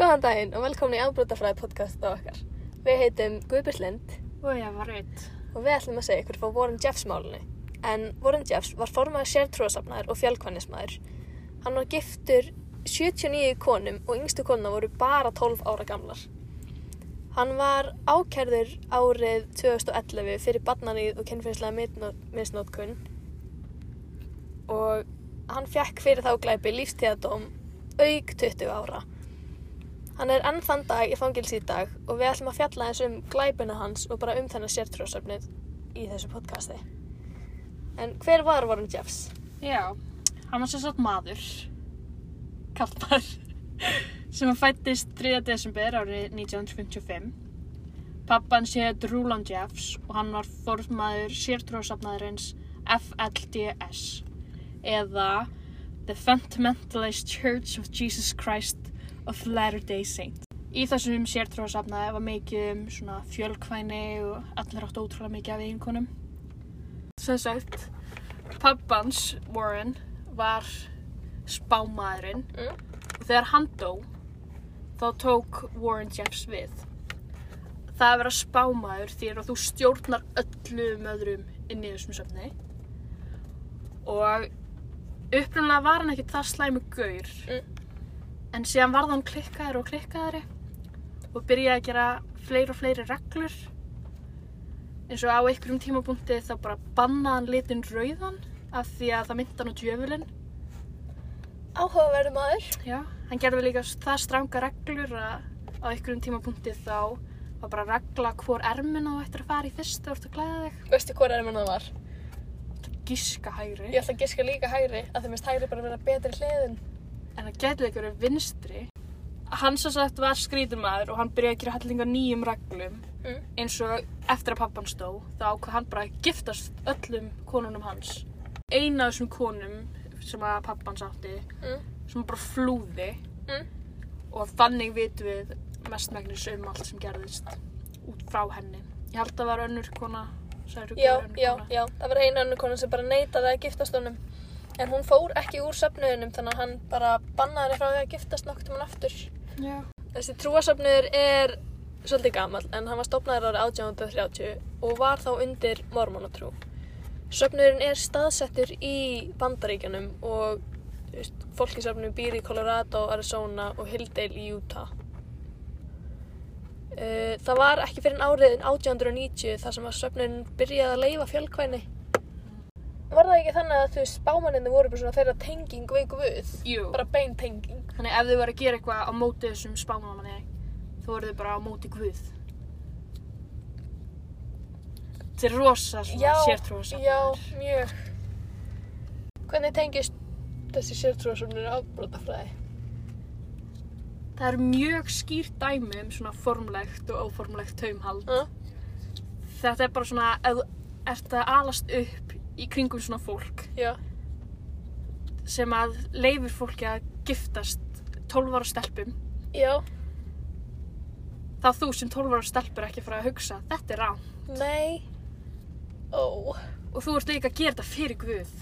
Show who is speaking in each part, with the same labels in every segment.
Speaker 1: Góðan daginn og velkomin í afbrotafræði podcast á okkar. Við heitum Guðbjörn Lind
Speaker 2: Og ég var auð.
Speaker 1: og við ætlum að segja ykkur frá Warren Jeffs málunni. En Warren Jeffs var formaður sértrúasafnaður og fjölkvænismæður. Hann var giftur 79 konum og yngstu konuna voru bara 12 ára gamlar. Hann var ákærður árið 2011 fyrir barnaníð og kynfyrslega misnótkun og hann fekk fyrir þá glæpi lífstíðadóm auk 20 ára. Hann er enn þann dag í fangilsi í dag og við ætlum að fjalla eins um glæpina hans og bara um þennan sértrúasöfnið í þessu podcasti. En hver var Warren Jeffs?
Speaker 2: Já. Hann var sérsagt maður. Kallar. sem að fættist 3. desember árið 1955. Pappan séð Rúlan Jeffs og hann var formaður sértrúasafnaðurins FLDS eða The Fundamentalist Church of Jesus Christ of Latter-day Saints. Í þessum sértrúasafnaði var mikið um svona fjölkvæni og allir áttu ótrúlega mikið af eiginkonum. Sem sagt, pappans, Warren, var spámaðurinn
Speaker 1: Mm.
Speaker 2: og þegar hann dó, þá tók Warren Jeffs við. Það að vera spámaður þýr að þú stjórnar öllum öðrum inn í þessum söfni og upprunalega var hann ekkert það slæmu gaur
Speaker 1: Mm.
Speaker 2: en síðan varð hann klikkaður og klikkaðari og byrjaði að gera fleiri og fleiri reglur eins og á einhverjum tímapunkti þá bara bannaði hann litin rauðan af því að það myndi hann á djöfulinn
Speaker 1: Áhugaverðu maður.
Speaker 2: Já, hann gerði líka það stranga reglur að á einhverjum tímapunkti þá var bara regla hvor ermin á eftir að fara í fyrst þegar þú ert að klæða þig.
Speaker 1: Veistu hvað er það var?
Speaker 2: Gíska hægri.
Speaker 1: Ég ætla að giska líka hægri að þau minnst hægri bara vera betri hliðin.
Speaker 2: En það gæti líka verið vinstri. Hann sem sagt var skrítumæður og hann byrjaði að gera hellinga nýjum reglum
Speaker 1: Mm.
Speaker 2: eins og eftir að pappan stó þá ákvað hann bara að giftast öllum konunum hans. Eina af þessum konum sem að pappan sátti
Speaker 1: Mm.
Speaker 2: sem bara flúði
Speaker 1: Mm.
Speaker 2: og þannig vitum við mestmægnis um allt sem gerðist út frá henni. Ég held að það var önnur kona, sagður
Speaker 1: Já, já, já. Það var eina önnur konan sem bara neitaði að giftast honum. En hún fór ekki úr söfnuðunum þannig að hann bara bannaði henni frá því að giftast nokkuð um aftur.
Speaker 2: já.
Speaker 1: Þessi trúasöfnur er svolítið gammal en hann var stopnaður árið 1830 og var þá undir mormonatrú. Söfnurinn er staðsettur í bandaríkjanum og þú veist, fólk í söfnum býr í Colorado, Arizona og Hilldale í Utah. Eh, Það var ekki fyrir en áriðin 1890 þar sem að söfnurinn byrjaði að leifa fjölkvæni. Var það ekki þannig að þú veist, spámanninni voru bara svona þeirra tenging við Guð?
Speaker 2: Jú.
Speaker 1: Bara bein tenging.
Speaker 2: Þannig ef þau var að gera eitthvað á móti þessum spámanni þá voru þau bara á móti guð. Þetta er rosa svona
Speaker 1: Já,
Speaker 2: sértrúasafn.
Speaker 1: Já, mjög. Hvernig tengist þessi sértrúasöfnir afbrotafræði?
Speaker 2: Það er mjög skýrt dæmi um svona formlegt og óformlegt taumhald.
Speaker 1: Uh.
Speaker 2: Þetta er bara svona, ef þú ert að alast upp í kringum svona fólk
Speaker 1: Já,
Speaker 2: sem að leifir fólki að giftast 12 ára stelpum
Speaker 1: já,
Speaker 2: þá þú sem 12 ára stelpur ekki að fara að hugsa þetta er rán
Speaker 1: nei, ó,
Speaker 2: og þú ert líka að gera þetta fyrir guð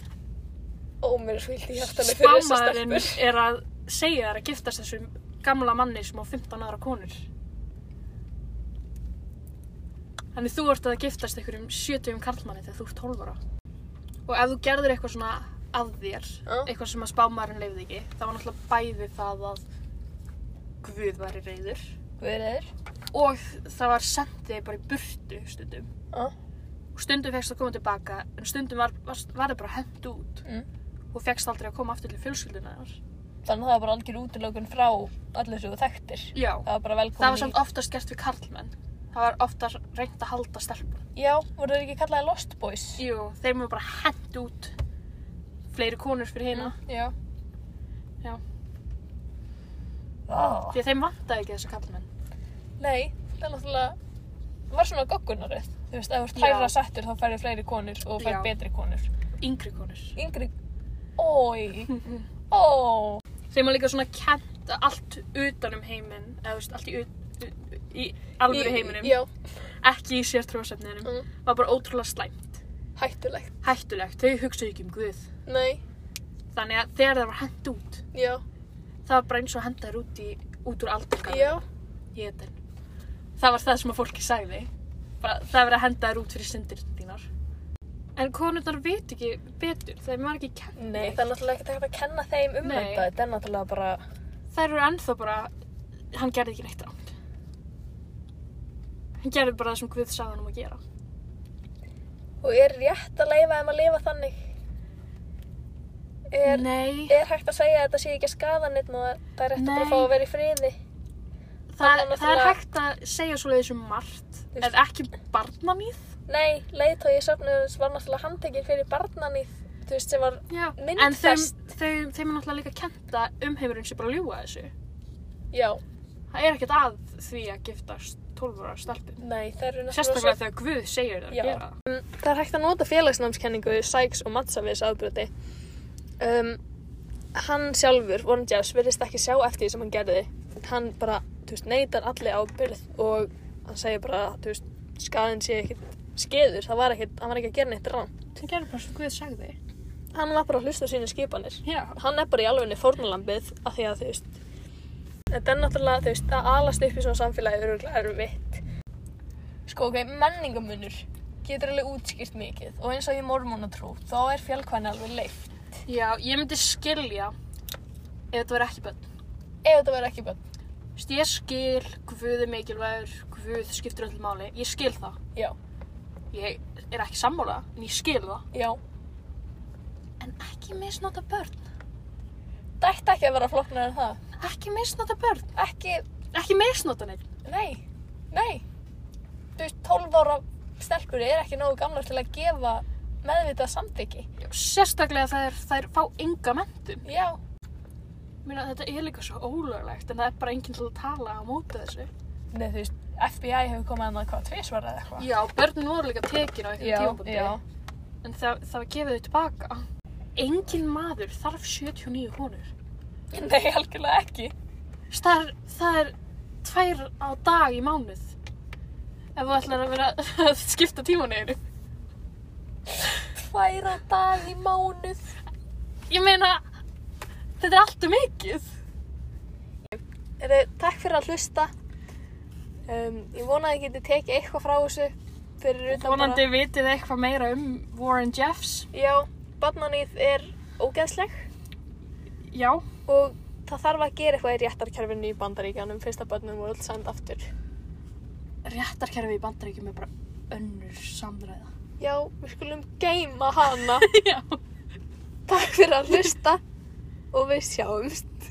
Speaker 1: ó, mér er svílt í hjartanlega fyrir þessa
Speaker 2: spámaðurinn
Speaker 1: stelpur.
Speaker 2: er að segja þær að giftast þessum gamla manni sem á 15 ára konur þannig þú ert að giftast einhverjum 70 karlmanni þegar þú ert 12 ára og ef þú gerður eitthvað svona að þér
Speaker 1: Já.
Speaker 2: eitthvað sem að spámaðurinn leifði ekki þá var náttúrulega bæði það að guð væri reyður
Speaker 1: Hver er?
Speaker 2: og það var sendið bara í burtu stundum
Speaker 1: Á,
Speaker 2: og stundum fegst að koma tilbaka en stundum var, var, var það bara hent út
Speaker 1: Mm.
Speaker 2: og fegst aldrei að koma aftur til fjölskylduna þar
Speaker 1: þannig að það var bara algjör útlökun frá allir sem þú þekktir.
Speaker 2: Já,
Speaker 1: Það var bara velkomin
Speaker 2: það var samt oftast gert við karlmenn það var oftast reynd að halda stelpun
Speaker 1: í... Já, voru þeir ekki kallaði Lost Boys?
Speaker 2: Jú, þeir maður bara hent út fleiri konur fyrir hina
Speaker 1: Já. Mm.
Speaker 2: Já.
Speaker 1: Ó.
Speaker 2: því að þeim vantaði ekki þessa karlmenn
Speaker 1: Nei, það er náttúrulega, var svona goggunarið. Þú veist, ef þú ert
Speaker 2: Já.
Speaker 1: hærra settur þá færðu fleiri konur og færðu
Speaker 2: Já.
Speaker 1: betri konur.
Speaker 2: yngri konur
Speaker 1: yngri Ói, ó
Speaker 2: þeim var líka svona kent allt utanum heiminn eða þú veist, allt í, ut- u- í alvöru
Speaker 1: Í-
Speaker 2: heiminum
Speaker 1: Já,
Speaker 2: ekki í sértrúasefninum
Speaker 1: Mm.
Speaker 2: var bara ótrúlega slæmt
Speaker 1: hættulegt
Speaker 2: hættulegt, þau hugsaðu ekki um Guð
Speaker 1: Nei,
Speaker 2: þannig að þegar það var hent út
Speaker 1: já,
Speaker 2: það var bara eins og henda þér út í út úr aldarkanum.
Speaker 1: Já,
Speaker 2: Ég veit það. Það var það sem að fólki sagði. Bara, það er verið að henda þér út fyrir syndir þínar. En konurnar veit ekki betur. Það var ekki kennt.
Speaker 1: nei, það er náttúrulega ekki hægt að kenna þeim um
Speaker 2: Nei.
Speaker 1: þetta. Þetta er náttúrulega bara,
Speaker 2: Þær eru ennþá bara, hann gerði ekki neitt rátt. Hann gerði bara það sem Guð sagði hann um að gera.
Speaker 1: og er rétt að leifa þeim að lifa þannig? Er,
Speaker 2: Nei,
Speaker 1: er hægt að segja að þetta sé ekki að skaða neitt og að það er rétt að bara
Speaker 2: Nei.
Speaker 1: fá að vera í friði?
Speaker 2: það,
Speaker 1: þannig að
Speaker 2: það er
Speaker 1: náttúrulega-
Speaker 2: hægt að segja svoleiðis um margt.
Speaker 1: Þú veist-
Speaker 2: En ekki barnaníð.
Speaker 1: Nei, leiðtói í söfnuðus var náttúrulega handtekinn fyrir barnaníð, þú veist, sem var,
Speaker 2: Já. En þeim,
Speaker 1: Myndfest.
Speaker 2: þeim, þeim er náttúrulega líka kent að umheimurinn sé bara að ljúga þessu.
Speaker 1: já,
Speaker 2: Það er ekkert að því að giftast 12 ára stelpum.
Speaker 1: nei, það eru
Speaker 2: Sérstaklega þegar Guð segir það að
Speaker 1: Já. Mm,
Speaker 2: gera það.
Speaker 1: Það er hægt að nota félagsnámskenningu Sykes og Matsa við þessu afbroti. Um, hann sjálfur, Warren Jeffs, verðist ekki sjá eftir því sem hann gerði. Hann bara, þú veist, neytar allir ábyrð og hann segir bara, þú veist, skaðin sé ekkert skeður, það var ekkert, hann var ekki að gera neitt rann.
Speaker 2: Það gerði bara sem Guð sagði.
Speaker 1: Hann var bara að hlusta á sína skipanir.
Speaker 2: Já.
Speaker 1: Hann er bara í alveginni fórnalambið af því að, þú veist, þetta er náttúrulega, þú veist, að alast upp í svona samfélagi er örugglega erfitt. Sko, ok, menningamunur getur alveg útskýrt mikið og eins og ég mormónatrú, þá er fjölkvæni alveg leift.
Speaker 2: Já, ég myndi skilja ef þetta var ekki bönn.
Speaker 1: Ef þetta verður ekki bönn,
Speaker 2: Þú veist, ég skil Guð er mikilvægur, Guð skiptir öllu máli. Ég skil það.
Speaker 1: já,
Speaker 2: Ég er ekki sammála, en ég skil það.
Speaker 1: já.
Speaker 2: En ekki misnota börn.
Speaker 1: Það ætti ekki að vera flokknar en það.
Speaker 2: Ekki misnota börn.
Speaker 1: Ekki,
Speaker 2: Ekki misnota neitt.
Speaker 1: nei, nei. Þú veist, 12 ára stelpur er ekki nógu gamlar til að gefa meðvitað samþyggi.
Speaker 2: Já, Sérstaklega þær, þær fá enga mentum.
Speaker 1: Já,
Speaker 2: Mér að þetta er líka svo ólöglegt en það er bara enginn til að tala á móti þessu.
Speaker 1: nei, þú veist, FBI hefur komið annað hvað, tvísvar eða eitthvað.
Speaker 2: Já, börnin voru líka tekin á einhverjum tímabundi.
Speaker 1: já.
Speaker 2: En það, það var gefið þau tilbaka. Engin maður þarf 79 konur.
Speaker 1: Nei, algjörlega ekki.
Speaker 2: Það er, það er tvær á dag í mánuð. Ef þú ætlar að vera að skipta tímaneginu.
Speaker 1: Færa dag í mánuð.
Speaker 2: Ég meina, þetta er allt um mikið.
Speaker 1: Eru, takk fyrir að hlusta. Um, ég vona að þið getið tekið eitthvað frá þessu. Fyrir utan
Speaker 2: Vonandi vitið þið eitthvað meira um Warren Jeffs.
Speaker 1: bara. Já, barnaníð er ógeðsleg
Speaker 2: Já,
Speaker 1: og það þarf að gera eitthvað í réttarkerfinu í bandaríkjanum fyrst að barnum voru öll send aftur.
Speaker 2: réttarkerfi í bandaríkjum er bara önnur samræða.
Speaker 1: Já, við skulum geima hana.
Speaker 2: Já.
Speaker 1: takk fyrir að hlusta og við sjáumst.